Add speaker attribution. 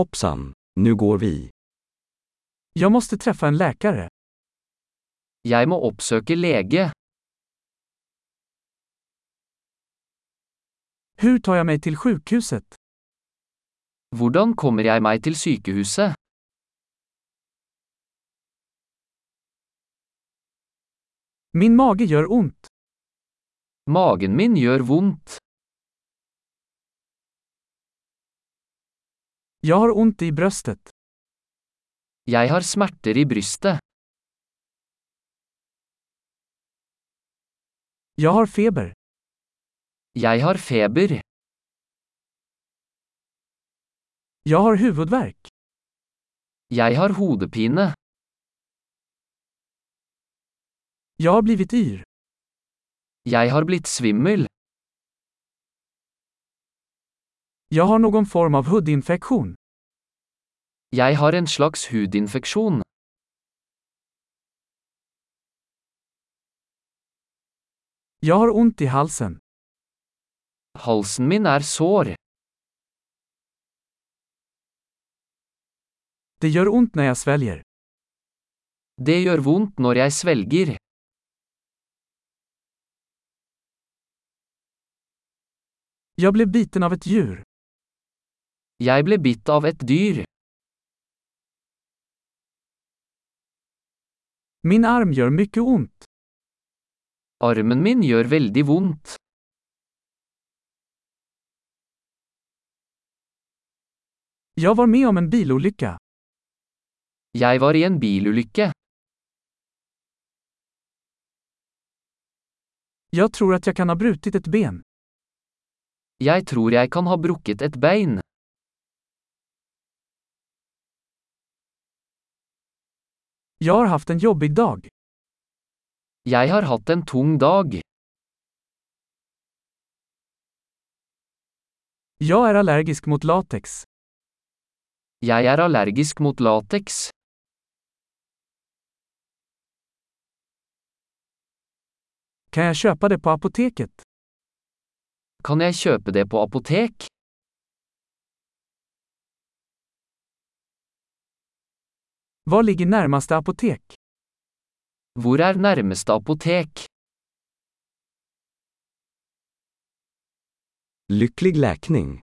Speaker 1: Hoppsan, nu går vi.
Speaker 2: Jag måste träffa en läkare.
Speaker 3: Jeg må oppsøke lege.
Speaker 2: Hur tar jag mig till sjukhuset?
Speaker 3: Hvordan kommer jeg meg til sykehuset?
Speaker 2: Min mage gör ont.
Speaker 3: Magen min gjør vondt.
Speaker 2: Jag har ont i bröstet.
Speaker 3: Jeg har smerter i brystet.
Speaker 2: Jag har feber.
Speaker 3: Jeg har feber.
Speaker 2: Jag har huvudvärk.
Speaker 3: Jeg har hodepine.
Speaker 2: Jag har blivit yr.
Speaker 3: Jeg har blitt svimmel.
Speaker 2: Jag har någon form av hudinfektion.
Speaker 3: Jeg har en slags hudinfeksjon.
Speaker 2: Jag har ont i halsen.
Speaker 3: Halsen min er sår.
Speaker 2: Det gör ont när jag sväljer.
Speaker 3: Det gjør vondt når jeg svelger.
Speaker 2: Jag blev biten av ett djur.
Speaker 3: Jeg ble bitt av et dyr.
Speaker 2: Min arm gör mycket ont.
Speaker 3: Armen min gjør veldig vondt.
Speaker 2: Jag var med om en bilolycka.
Speaker 3: Jeg var i en bilulykke.
Speaker 2: Jag tror att jag kan ha brutit ett ben.
Speaker 3: Jeg tror jeg kan ha brukket et bein.
Speaker 2: Jag har haft en jobbig dag.
Speaker 3: Jeg har hatt en tung dag.
Speaker 2: Jag är allergisk mot latex.
Speaker 3: Jeg er allergisk mot lateks.
Speaker 2: Kan jag köpa det på apoteket?
Speaker 3: Kan jeg kjøpe det på apotek?
Speaker 2: Var ligger närmaste apotek?
Speaker 3: Hvor er nærmeste apotek?
Speaker 1: Lycklig läkning!